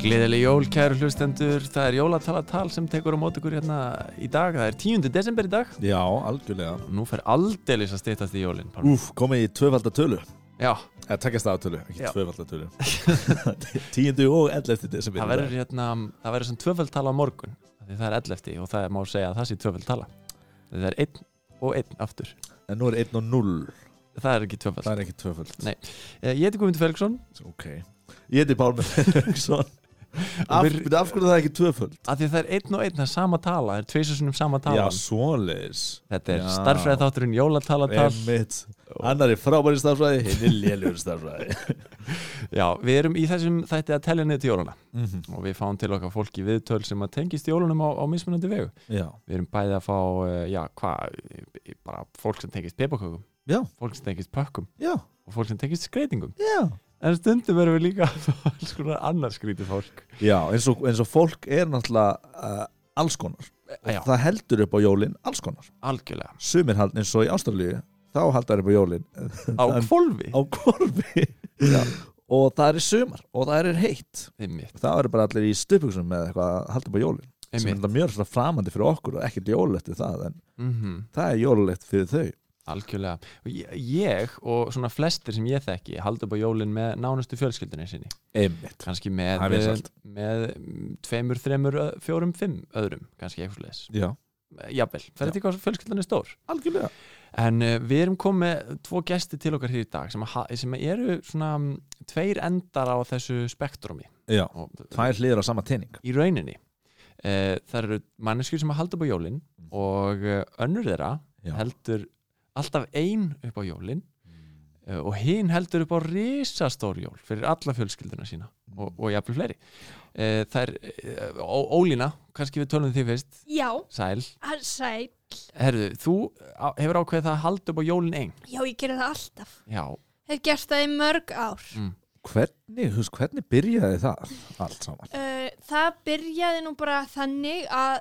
Gleðileg jól, kæru hlustendur, það er jólatalatal sem tekur á mót ykkur hérna í dag, það er 10. desember í dag. Já, algjörlega Nú fer aldeilis að stýttast í jólinn. Pálmi. Úf, komið í tvöfaldatölu Já, Eða takkast aðatölu, ekki Já. tvöfaldatölu Tíundu og ellefti desember það verður hérna, það verður sem tvöföld tala á morgun, af því það er 11. og það má segja að það sé tvöföld tala. Það er einn og einn aftur. En nú er 1 og 0, Það er ekki tvöföld. það er ekki tvöfald Nei. Eh, Ég heiti Guðmundur Felgsson, Ok Ég heiti Pálmi Felixson af, við- byrju, af hverju er það ekki tvöföld? af því það er einn og einn, það er sama tala, það er tveisursunum sama Já, tala. svoleiðis Þetta er Já. starfræði þátturinn jólatalatal. Emmitt Annar er frábæri starfræði, hinn er lélugur starfræði Já, við erum í þessum þætti að telja niður til jólana mm -hmm. og við fáum til okkar fólki viðtöl sem að tengist jólunum á, á mismunandi vegu. Já, Við erum bæði að fá, eh, já, hvað, eh, bara fólk sem tengist pepakökum, Já. fólk sem tengist pökkum já, og fólk sem tengist skreitingum. já En stundum erum við líka að fá alls konar annar skrítið fólk. Já, eins og, eins og fólk er náttúrulega uh, alls konar Eh, Já, Það heldur upp á jólin alls konar algjörlega. sumir hald eins og í Ástralíu þá haldar upp á jólin Á kvolfi, á korfi Já. og það er sumar og það er heitt einmitt, þá eru bara allir í stupuksum með eitthvað að halda upp á jólin sem er einmitt. þetta mjög svona framandi fyrir okkur og ekkert jólulegt við það en Mm það er jólulegt fyrir þau Algjörlega. Og ég- Ég og svona flestir sem ég þekki haldi upp á jólinn með nánustu fjölskyldunni sinni. einmitt Kannski með, Það er vinsælt. með mm, tveimur, þremur, ö- fjórum, fimm öðrum, kannski eitthvað leðis. já Jafnvel, það er þetta hvað fjölskyldan er stór. algjörlega En uh, við erum komið með tvo gesti til okkar hér í dag sem, að ha- sem eru svona mm, tveir endar á þessu spektrumi já og, tvær hliður á sama teining í rauninni. Uh, það eru manneskjur sem að halda upp á jólinn og uh, önnur þeirra Mm. Já. heldur alltaf ein upp á jólinn uh, og hinn heldur upp á risastór jól fyrir alla fjölskylduna sína Mm. og, og jafnvel fleiri. Uh, það er uh, Ó- Ólína, kannski við tölum því fyrst, Já, sæl. hann sæl. Herðu, þú á- hefur ákveðið það að halda upp á jólinn einn. Já, ég gerði það alltaf. Já, Hef gert það í mörg ár. Mm. hvernig þú veist hvernig byrjaði það allt saman Uh, það byrjaði nú bara þannig að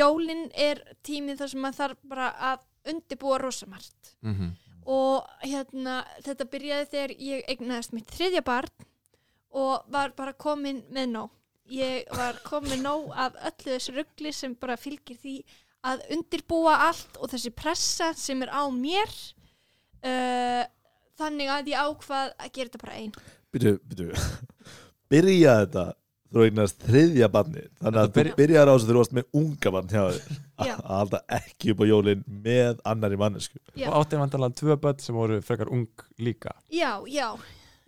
jólinn er tímið þar sem maður þarf bara að undibúa rosamart. mm Og hérna, þetta byrjaði þegar ég eignaðist mitt þriðja barn og var bara komin með nóg. Ég var komin með nóg af öllu þessu ruggli sem bara fylgir því að undirbúa allt og þessi pressa sem er á mér. Uh, þannig að ég ákvað að gera þetta bara einn. byrju byrju byrjaði þetta þú eignast þriðja barni þannig að Þetta þú byrja- byrjaði á þessu þegar þú varst með unga barn hjá þér að Já. að halda ekki upp á jólin með annari mannesku Já. og átti vantanlega tvö börn sem voru frekar ung líka. Já, já,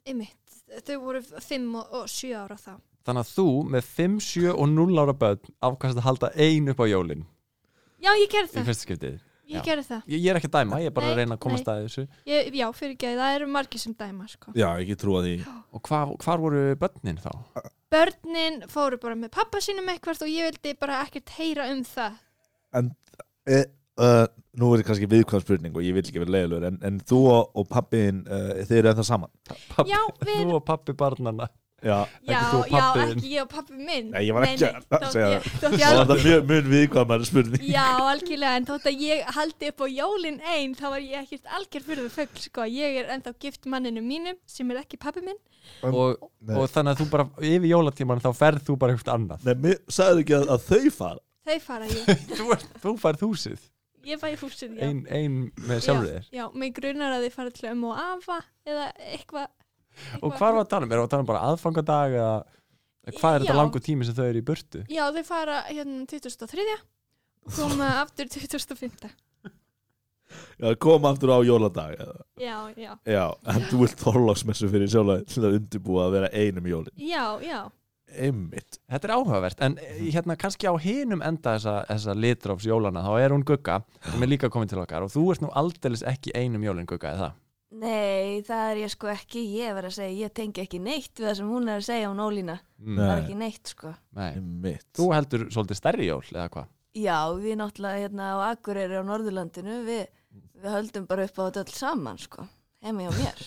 ymmit. Þau voru fimm og, og sjö ára þá. Þannig að þú með 5, 7 og 0 ára börn afkvæmst að halda einu upp á jólinn Já, ég gerði í það. fyrsta skiptið. já. Ég gerði það. Ég, ég er ekki að dæma, ég er bara að Nei, reyna að komast að þessu. Ég, já, fyrir ekki, það eru margir sem dæma, sko. Já, ekki trúa því Og hvar, hvar voru börnin þá? Börnin fóru bara með pappa sínum eitthvert og ég vildi bara ekkert heyra um það. e, uh, Nú er kannski viðkvæm spurning og ég vil ekki vera leiðilegur en, en þú og, og pappiðin, uh, þeir eru ennþá saman Pappi, Já, við- Þú og pappi barnana. Já, já, þú og já, pabbi þinn. ekki ég og pappi minn. Nei, ég var ekki að þótt segja ég- þótt ég það er alveg- mjög, mjög viðkvæmari spurning Já, algjörlega, en þótt að ég haldi upp á jólin einn, þá var ég ekkert algjör fyrir þau fögl, sko. Ég er ennþá gift manninu mínum, sem er ekki pappi minn. Og, og þannig að þú bara yfir jólatíman þá ferð þú bara eitthvað annað. Nei, mér sagði ekki að, að þau fara Þau fara ég. Þú, er, þú færð húsið, Ég fæ húsin, já. ein, ein með sjálfur þér. Já, já, mig grunar að þið fara til ömmu og afa eða eitthvað Og hvar var að tala um? Erum við að tala um bara aðfangadag eða hvað er þetta Já. langur tími sem þau eru í burtu? Já, þau fara hérna 2003 og koma aftur 2005 Já, koma aftur á jóladag eða. Já, já, Já, en þú vilt þorláksmessu fyrir sjálf til að undirbúa að vera einum jólin já, já Einmitt Þetta er áhugavert, en Mhm. eh, hérna kannski á hinum enda þessa, þessa litróps jólana, þá er hún Gugga, sem er líka komin til okkar og þú ert nú aldeilis ekki einum jólin Gugga, eða það? Nei, það er ég sko ekki, ég var að segja, ég tengi ekki neitt við það sem hún er að segja um Ólína. Nei. Það er ekki neitt sko. Nei. Einmitt Þú heldur svolítið stærri jól, eða hvað? Já, við náttúrulega hérna á Akureyri á Norðurlandinu, við, við höldum bara upp á þetta öll saman sko, heimi og mér.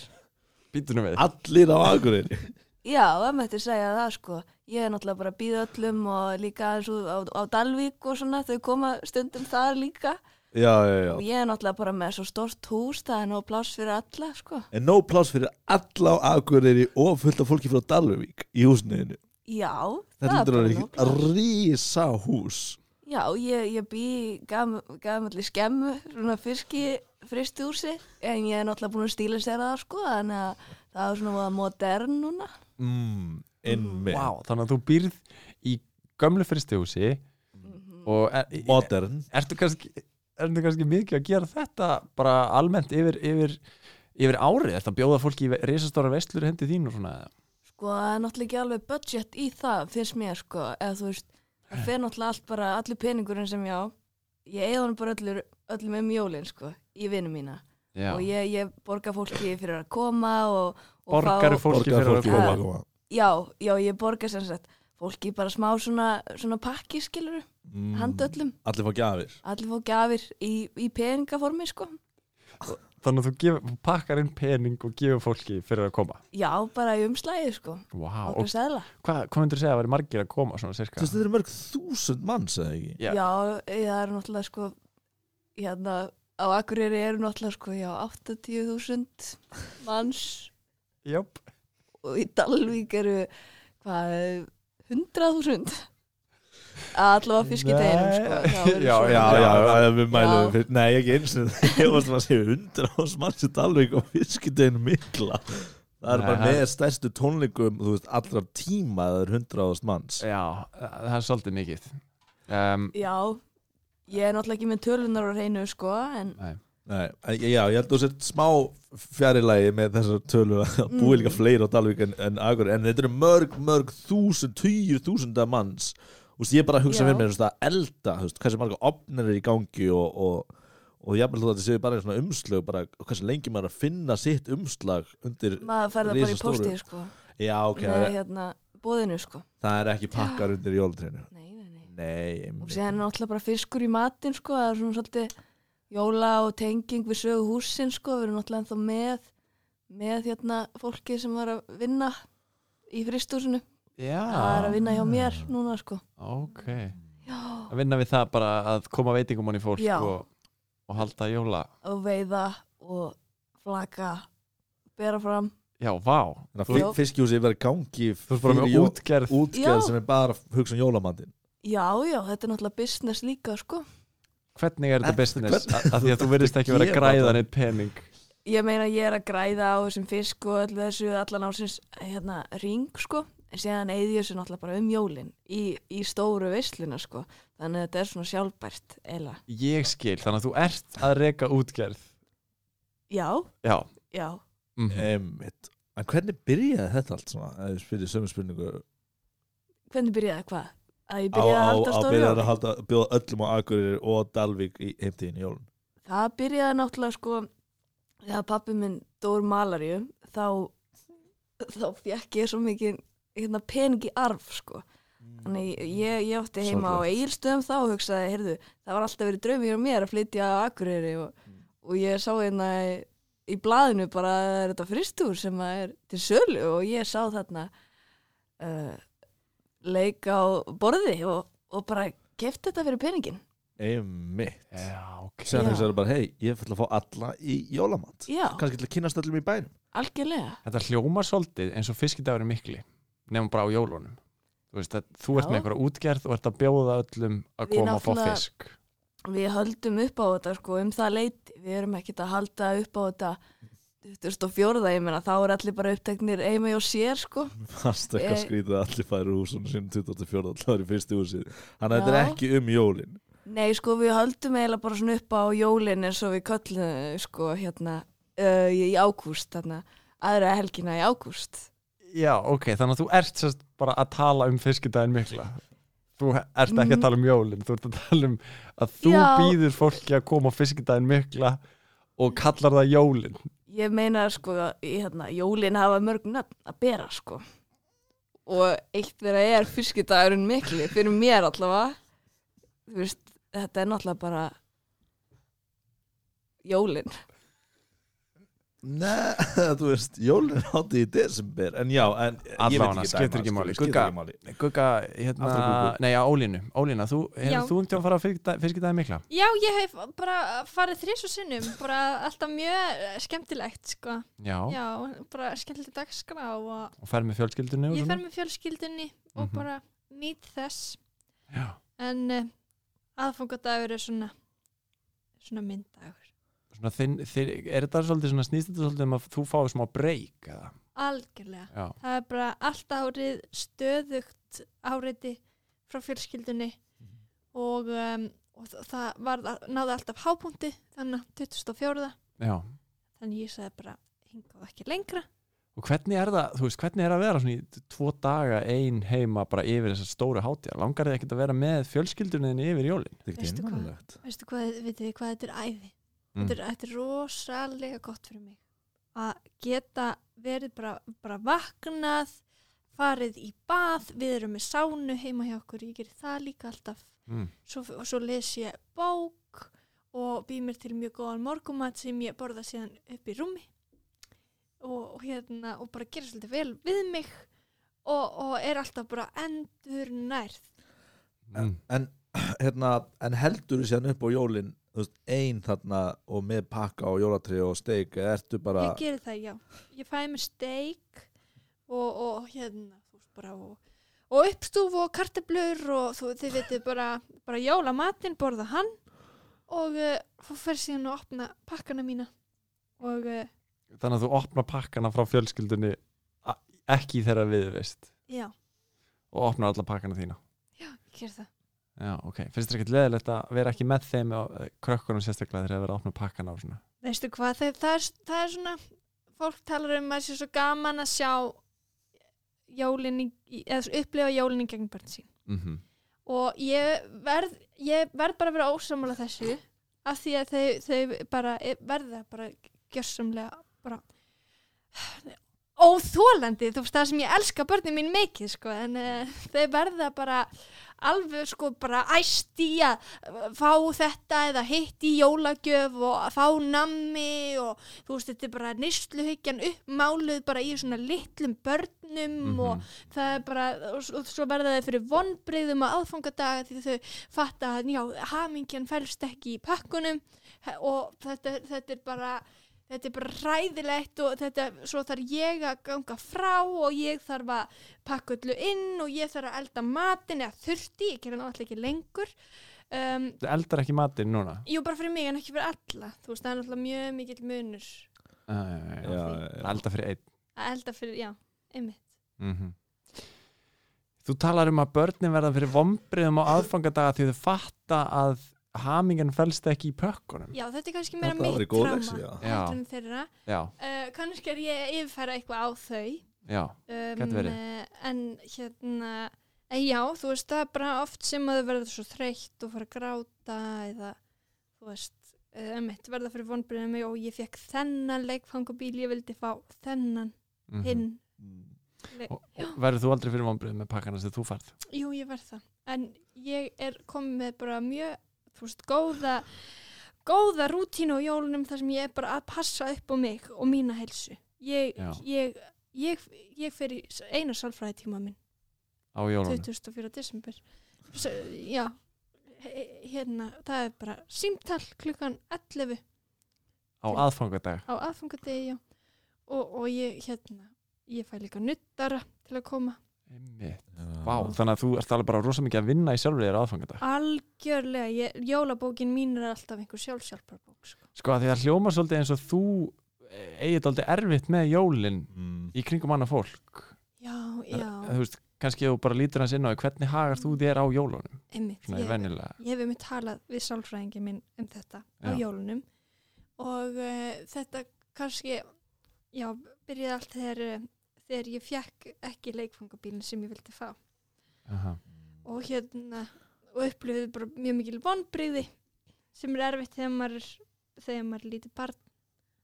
Býtunum við. Allir á agurinni Já, það mætti segja það sko, ég er náttúrulega bara að býða öllum og líka aðeins út á, á Dalvík og svona, þau koma stundum þar líka. Já, já, já Og ég er náttúrulega bara með svo stort hús, það er nóg pláss fyrir alla sko. En nóg pláss fyrir alla á agurinni og fullt af fólki frá Dalvík í húsniðinu Já, Þetta lítur það er að vera bara nóg ekki pláss. rísa hús Já, ég, ég bý gamalli skemmu, svona fiski fristjúrsi, en ég er náttúrulega búin að stíla sér það sko, þannig að það er svona voða modern núna. mm, Einmitt Vá, þannig að þú býrð í gömlu fristihúsi Mhm. og er, er, Modern ertu kannski ertu kannski mikið að gera þetta bara almennt yfir, yfir, yfir árið ertu að bjóða fólki í risastóra vestlur hendi þín og svona Sko, það er náttúrulega ekki alveg budget í það, finnst mér, sko, eða þú veist, það fer náttúrulega allt bara, allir peningurinn sem ég á, ég eigða hann bara öllur, öllum um jólinn, sko, í vinnu mína. já, Og ég, ég borga fólki fyrir að koma og, og borgaru fá... fólki Borgar fyrir að fólki koma fyrir að koma Já, já, ég borga sem sagt, fólki bara smá svona, svona pakki, skilur, Mm. handöllum. Allir fá gjafir Allir fá gafir í, í peningaformi, sko. þannig að þú gef, pakkar inn pening og gefur fólki fyrir að koma Já, bara í umslæði, sko. wow. Okkur og seðla. hvað hva myndir þú segja að væri margir að koma svona Þú cirka veist þetta eru mörg þúsund manns eða ekki Já. Já, eh, það eru náttúrulega, sko, hérna, á Akureyri eru náttúrulega, sko, já, 80.000 manns Jöp. og í Dalvík eru, hvað, 100.000? Allavega fiskideginum, sko. Nei. þá verður Já, svona- Já, já, já, við Já. mælum fyrir, nei ekki eins og ég varst að segja hundra ás manns í Dalvík og fiskidegin mikla Það er Nei, bara það- með stærstu tónleikum, þú veist, allra tíma það er hundra ás manns já, það er svolítið mikið um, Já, ég er náttúrulega ekki með tölunar á reynu, sko, en nei. Nei, en- já, ég held að þú sett smá fjarilagi með þessar tölur að búi Mm. líka fleiri á Dalvík en, en Akur en þetta eru mörg, mörg þúsund, týr þúsunda manns Þú veist, ég er bara að hugsa Já. með mér þú veist, að elda, þú veist, hversu marga opnir er í gangi og, og, og jafnvel þú að þetta séu bara svona umslög, bara hversu lengi maður er að finna sitt umslag undir maður fær það bara í Risastóru. postið, sko. Já, ok, Með, hérna, bóðinu, sko. það er ekki pakkar undir jólatrénu Nei, nei, nei. Nei, og einmitt. síðan er náttúrulega bara fiskur í matinn sko, það er svona svolítið jóla og tenging við sögu húsin sko, við erum náttúrulega ennþá með með hérna fólki sem var að vinna í fristúsinu það er já, að vinna hjá mér núna sko ok já, að vinna við það bara að koma veitingum í fólk Já. og, og halda jóla og veiða og flaka bera fram, já, vá, Þannig að Þú- fi- fiskihúsið er verið í gangi þú ert bara fyrir með jó- útgerð útgerð Já. sem er bara að hugsa um jólamandin já, já, þetta er náttúrulega business líka sko, hvernig er þetta Ertu- business hvern- að því að þú virðist ekki vera að Gefa græða það. neitt pening ég meina ég er að græða á þessum fisk og öllu þessu allan ásins hérna ring sko en síðan eigði ég þessu náttúrulega bara um jólin í, í stóru veisluna sko þannig að þetta er svona sjálfbært eila ég skil, þannig að þú ert að reka útgerð já, já, já mhm. Einmitt. En hvernig byrjaði þetta allt svona? Ef Ég spyrir sömu spurningu hvernig byrjaði hvað? að ég á, byrjaði á, að halda á stóru byrjaði jól að halda, bjóða öllum á Akureyri og Dalvík í heimtíðin jólun það byrjaði náttúrulega sko þegar pappi minn dór malaríu þá þá fekk ég svo mikið hérna peningi arf sko Þannig ég, ég átti heima á Egilstöðum þá og hugsaði, heyrðu, það var alltaf verið draumi hjá mér að flytja á Akureyri og, og ég sá hérna í, í blaðinu bara að það er þetta fristúr sem að er til sölu og ég sá þarna uh, leik á borði og, og bara kefti þetta fyrir peningin. Einmitt já, ok Sér Já. hugsaði bara, hei, ég ætla að fá alla í jólamand Já, Kannski til að kynast öllum í bænum algjörlega. þetta hljómar svolítið eins og fiskidagur er mikli nefnum bara á jólunum þú, veist, að, þú ert Já. með einhverja útgerð og ert að bjóða öllum að Við koma og fá náttúrulega- fisk Við höldum upp á þetta sko um það leiti, við erum ekkert að halda upp á þetta 2004, ég meina þá er allir bara uppteknir einu og sér sko. Fast eitthvað Eh. skrítið að allir færi úr svona sinni 24. allar í fyrstu húsið Þannig að þetta er Já. ekki um jólin Nei, sko, við höldum eiginlega bara svona upp á jólinn eins og við köllum, þau, sko, hérna, uh, í ágúst, þarna, aðra helgina í ágúst. já, ok, þannig að þú ert sérst bara að tala um fiskidagin mikla þú ert ekki að tala um jólin þú ert að tala um að þú Já. býður fólki að koma á fiskidagin mikla og kallar það jólin Ég meina, sko, í, hérna, jólinn hafa mörg nöfn að bera, sko. Og eitt þeirra er fiskidagurinn mikli, fyrir mér allavega. Þú veist, þetta er náttúrulega bara jólinn. Nei, þú veist, jólin er hátíð í desember En já, en ég Allavega, veit ekki skiptir ekki máli. Skiptir Gugga. ekki máli Gugga, Aftur Guggu. hérna, nei, á Ólínu Ólína, þú, Já. hefur þú um til að fara að fiskitaði mikla? Já, ég hef bara farið þrís og sinnum, bara alltaf mjög eh, skemmtilegt, sko. Já, Já, bara skemmtileg dagskrá og og fer með fjölskyldunni og ég svona? fer með fjölskyldinni og Mhm. bara nýt þess. Já, En uh, aðfangadagur er svona, svona myndagur. svona þinn, þinn, er þetta svolítið svona snýst þetta svolítið um að þú fáið smá breyk eða? Algjörlega. Já, Það er bara allt árið stöðugt áriði frá fjölskyldinni Mhm. og, um, og þa- það var, náði alltaf hápunkti þannig að 2004. já Þannig ég sagði bara hingað ekki lengra. Og hvernig er það, þú veist, hvernig er að vera svona í tvo daga ein heima bara yfir þessar stóru hátíðar? Langar þið ekkert að vera með fjölskyldunni þinni yfir jólin? Þetta er ekki Veistu hvað? einmannlegt Veistu hvað, vitið þið hvað þetta er æði? Mm. Þetta, er, þetta er rosalega gott fyrir mig. Að geta verið bara, bara vaknað, farið í bað, við erum með sánu heima hjá okkur, ég gerir það líka alltaf. Mm. svo, og svo les ég bók og býð mér til mjög góðan morgumat sem ég borða síðan upp í rúmi og, og hérna og bara gera svolítið vel við mig og, og er alltaf bara endur nærð Mm. en, hérna, en heldur þú séðan upp á jólin þú veist, ein þarna og með pakka og jólatri og steik eða ertu bara ég geri það já, ég fæði mér steik og, og hérna þú veist, bara, og, og uppstúf og karteblur og þú, þið veitir bara, bara jóla matinn, borða hann og eh, þú fer síðan að opna pakkana mína og uh, Þannig að þú opna pakkana frá fjölskyldunni a- ekki þegar við veist já, og opnar alla pakkana þína. já, ég geri það Já, ok. Finnst þér ekkert leðilegt að vera ekki með þeim og krökkunum sérstaklega þegar það verið að opna pakkana og svona? Veistu hvað, það, það, er, það er svona fólk talar um að það sé svo gaman að sjá jólin í, í- eða svo upplifa jólin í gegn börn sín Mm -hmm. og ég verð, ég verð bara að vera ósammála þessu af því að þau, þau bara e- verða bara gjörsamlega bara óþólandi, þú veist það sem ég elska börnin mín mikið sko en uh, þau verða bara alveg sko bara æst í að eh, fá þetta eða hitt í jólagjöf og að fá nammi og þú veist þetta er bara nýsluhyggjan uppmáluð bara í svona litlum börnum og það er bara, og, s- og svo verða þeir fyrir vonbreyðum á aðfangadaga því þau fatta að já, hamingjan fælst ekki í pakkunum he- og þetta, þetta er bara þetta er bara ræðilegt og þetta, svo þarf ég að ganga frá og ég þarf að pakka öllu inn og ég þarf að elda matin eða þurfti, ég gerði náttúrulega ekki lengur um, Þú eldar ekki matinn núna? jú, bara fyrir mig en ekki fyrir alla þú veist, það er náttúrulega mjög mikill munur Já, já, já. já, Það já. Elda fyrir einn. að elda fyrir, já, einmitt Mm Þú talar um að börnin verða fyrir vombriðum á aðfangadaga því þau fatta að hamingen felst ekki í pökkunum. já, þetta er kannski meira Þetta var í mitt góð leksi, tráma já. Já. heldur en þeirra Já, Uh, kannski er ég að yfirfæra eitthvað á þau já. um, Gæti verið. eh, en hérna en já, þú veist, það er bara oft sem að þau verða svo þreytt og fara að gráta eða, þú veist um, verða fyrir vonbyrðinu mig og ég fekk þennan leikfangabíl, ég vildi fá þennan, Mm hinn Mm. leik. Og, og verður þú aldrei fyrir vombriðum með pakkana sem þú færð? jú, ég verð það, en ég er komið með bara mjög, þú veist, góða góða rútínu á jólunum þar sem ég er bara að passa upp á mig og mína helsu ég, Já. ég, ég, ég fer í eina salfræði tíma minn Á jólunum? 24. desember S já he- hérna, það er bara símtall klukkan 11 Á aðfangadag? á aðfangadegi já. og, og ég hérna ég fæ líka nuttara til að koma Einmitt. Já. Vá, þannig að þú ert alveg bara rosa mikið að vinna í sjálfur þér á aðfangadag. algjörlega, ég, jólabókin mín er alltaf einhver sjálfsjálfarbók sko. Sko að því það hljóma svolítið eins og þú eigið aldrei erfitt með jólin Mm. í kringum annað fólk. já, Er- já, Þú veist, kannski ef þú bara lítur hans inn á því, hvernig hagar þú þér á jólunum? einmitt Svona í ég, venjulega. ég hef einmitt talað við sálfræðingi minn um þetta á Já. jólunum og uh, þetta kannski já, byrjaði allt þegar eh, þegar ég fekk ekki leikfangabílinn sem ég vildi fá Aha. og hérna og upplifði bara mjög mikil vonbrigði sem er erfitt þegar maður er- þegar maður er lítið barn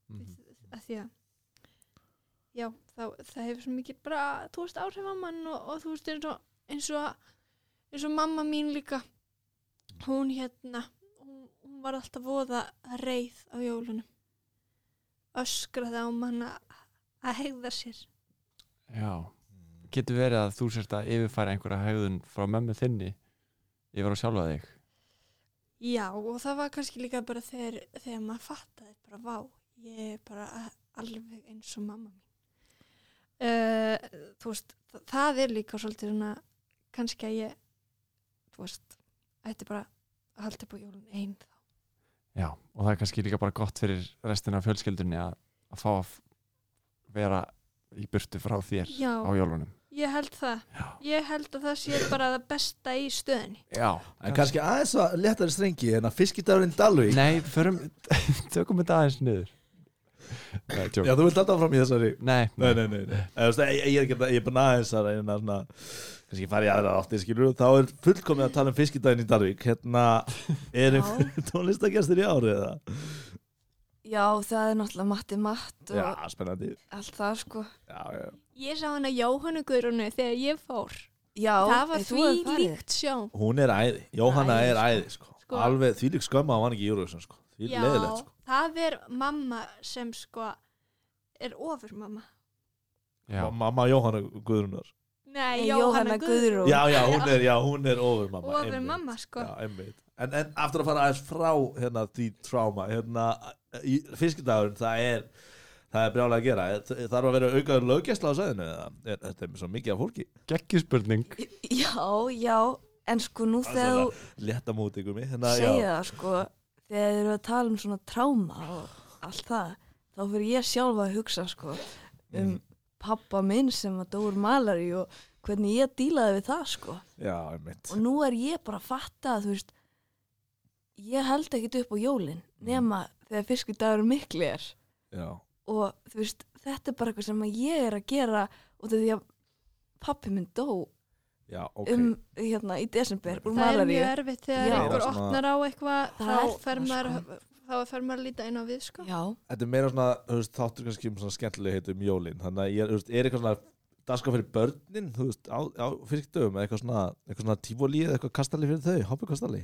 Mhm. af því að já, þá, það hefur svo mikil bara, þú veist, áhrif á mann og, og þú veist, eins og eins og, eins og mamma mín líka hún hérna hún, hún var alltaf voða reið á jólunum öskraði á mann að að hegða sér já getur verið að þú sérst að yfirfæra einhverja hegðun frá mömmu þinni yfir á sjálfa þig já og það var kannski líka bara þegar, þegar maður fattaði bara vá ég er bara a- alveg eins og mamma mín uh, þú veist þa- það er líka svolítið svona kannski að ég þú veist, ætti bara að halda upp á jólun einn þá já, og það er kannski líka bara gott fyrir restina af fjölskyldunni að, að fá að f- vera í burtu frá þér já, á jólunum ég held það já, ég held að það sé bara það besta í stöðinni já En kannski aðeins að léttari strengi en að fiskidagurinn Dalvík nei, förum, tökum þetta aðeins niður nei, Já, tjók þú vilt alltaf fram í þessari nei, Nei, nei, nei, nei. Eða, þú veist, Ég, ég er ekki að- ég er bara aðeins að reyna svona, kannski fara í aðra átti skilur þá er fullkomið að tala um fiskidaginn í Dalvík hérna er Já. tónlistagestir í árið eða? Já, það er náttúrulega matti matt og Já, spennandi allt það sko. Já, já Ég sá hana Jóhannu Guðrunu þegar ég fór. Já, það var en þú því hefur farið. líkt sjón. Hún er æði, Jóhanna Æði, er æði sko. Sko. Alveg þvílík skömmu að hann ekki í Eurovision sko. Því Já, leðilegt sko. það er mamma sem sko er ofur mamma. já, Ma- Mamma Jóhanna Guðrunar Nei, Nei, Jóhanna Jóhanna Guðrún. Guðrún. já, já, hún er, já, hún er ofur mamma Ofur einmitt. mamma sko. Já, einmitt En, en aftur að fara aðeins frá hérna, því tráma hérna, í fiskidagurinn það er það er brjálega að gera Það þarf að vera aukaður löggæsla á sæðinu eða? Er- Þetta er svo mikið af fólki geggjuspurning Já, já, en sko nú þegar þú Létta múti ykkur mig hérna, já. segja það sko, þegar þið eru að tala um svona tráma og allt það, þá fyrir ég sjálfa að hugsa sko Mm. um pappa minn sem að dóur malari og hvernig ég dílaði við það sko. já, einmitt Og nú er ég bara að fatta að þú veist, ég held ekkit upp á jólin Mm. nema þegar fiskudagur mikli er. já. og þú veist, þetta er bara eitthvað sem að ég er að gera út af því að pappi minn dó já, ok um, hérna, í desember Það úr er malaríu mjög erfitt þegar Já. einhver Það er svona- opnar á eitthvað Það er þá það, fer maður sko. þá fer maður að líta inn á við sko. Já, Þetta er meira svona, þú veist, þáttur kannski um svona skemmtilega heitum jólin Þannig að ég er, þú veist, er eitthvað svona daska fyrir börnin, þú veist, á, á fyrkdöfum eitthvað svona, eitthvað svona tífóli eða eitthvað kastali fyrir þau, hoppukastali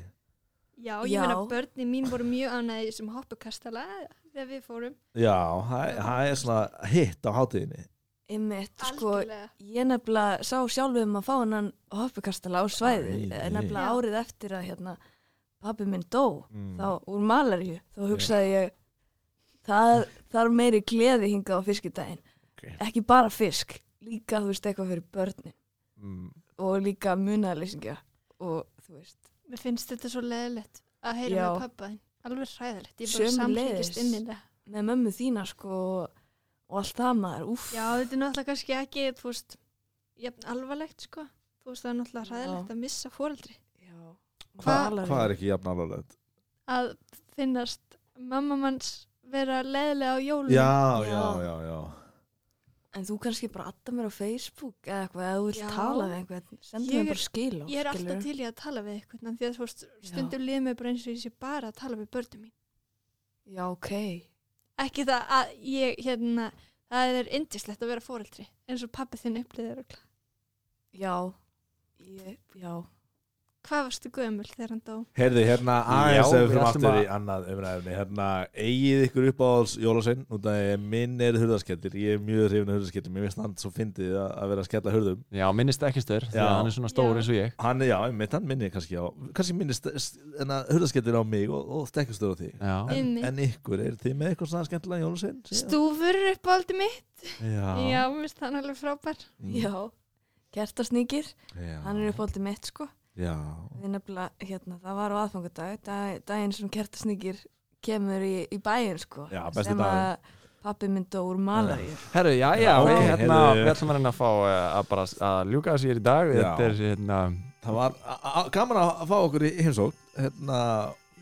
Já, ég Já. meina börni mín voru mjög ánæði sem hoppukastala þegar við fórum. Já, það það er svona hitt á hátíðinni einmitt, sko Algjörlega. ég nefnilega sá sjálfu um að fá hennan hoppukastala á svæði Æði. nefnilega Já. árið eftir að hérna, pappi minn dó Mm. þá úr malaríu, þá hugsaði ég það þarf meiri gleði hingað á fiskidaginn Ok. ekki bara fisk, líka þú veist eitthvað fyrir börnin mm. og líka munaleysingja og þú veist Mér finnst þetta svo leðilegt að heyra Já. með pappa þinn. Alveg ræðilegt. Ég bara Sömuleiðis. samlíkist innilega. með mömmu þína sko og allt það maður, úff Já, þetta er náttúrulega kannski ekki, þú veist, jafn alvarlegt, sko. Þú veist, það er náttúrulega hræðilegt að missa fóreldri. Já. Hvað Malaríu. hva er ekki jafn alvarlegt? Að finnast mamma manns vera leiðilega á jólum. Mm. Já, já, Já. já, já en þú kannski bara adda mér á Facebook eða eitthvað, eða þú vilt Já. tala við einhvern sendu Ég mér er- bara skil Ég er á skilurðu. alltaf til í að tala við eitthvað, en því að þú veist, stundum líður mér bara eins og ég sé bara að tala við börnum mín. Já, ok, Ekki það að ég, hérna, það er indislegt að vera fóreldri, eins og pappi þinn upplýðir og já ég, já, Hvað varstu gömul þegar hann dó? Heyrðu, hérna Já, aðeins ef við við fyrir ætlum aftur að- í annað umræðinni Hérna, eigið ykkur upp á jólasinn Út af því að minn er hurðaskettir Ég er mjög hrifin af hurðaskettir Mér finnst hann svo fyndið að að vera að skella hurðum já, minnist ekki stöður því Já. að hann er svona stór Já. eins og ég Hann, já, einmitt, hann minnir kannski á kannski minnir hurðaskettir á mig og, og stekkastur á því já, en, Einmitt. en ykkur, er þið með eitthvað svona skemmtilega jólasvein? Stúfur er uppáldi mitt? Já, Já, mér finnst hann alveg frábær. Mm. já kertasnýkir, já, hann er upp áldi mitt sko já. við nefnilega, hérna, það var á aðfangadag dag, daginn sem kertasnýkir kemur í, í bæin sko Já, besti sem dagurinn. að pappi minn dó úr malaríu herru, já, já, Já, við, ok, hérna, heyrðu. við ætlum að reyna að fá eh, að bara s- að ljúka þessu hér í dag Já. þetta er hérna, Það var a- a- gaman að fá okkur í heimsókn hérna,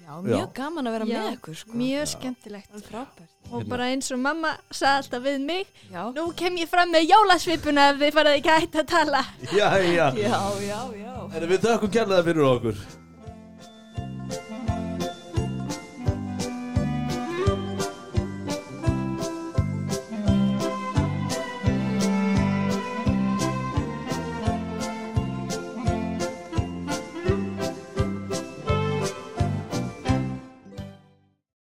já, mjög Já. gaman að vera Já, með ykkur sko Mjög skemmtilegt. Það Hérna. er frábært Og bara eins og mamma sagði alltaf við mig, Já, nú kem ég fram með jólasvipuna ef þið farið ekki hægt að tala. Já, já já, já, já En við þökkum kærlega fyrir okkur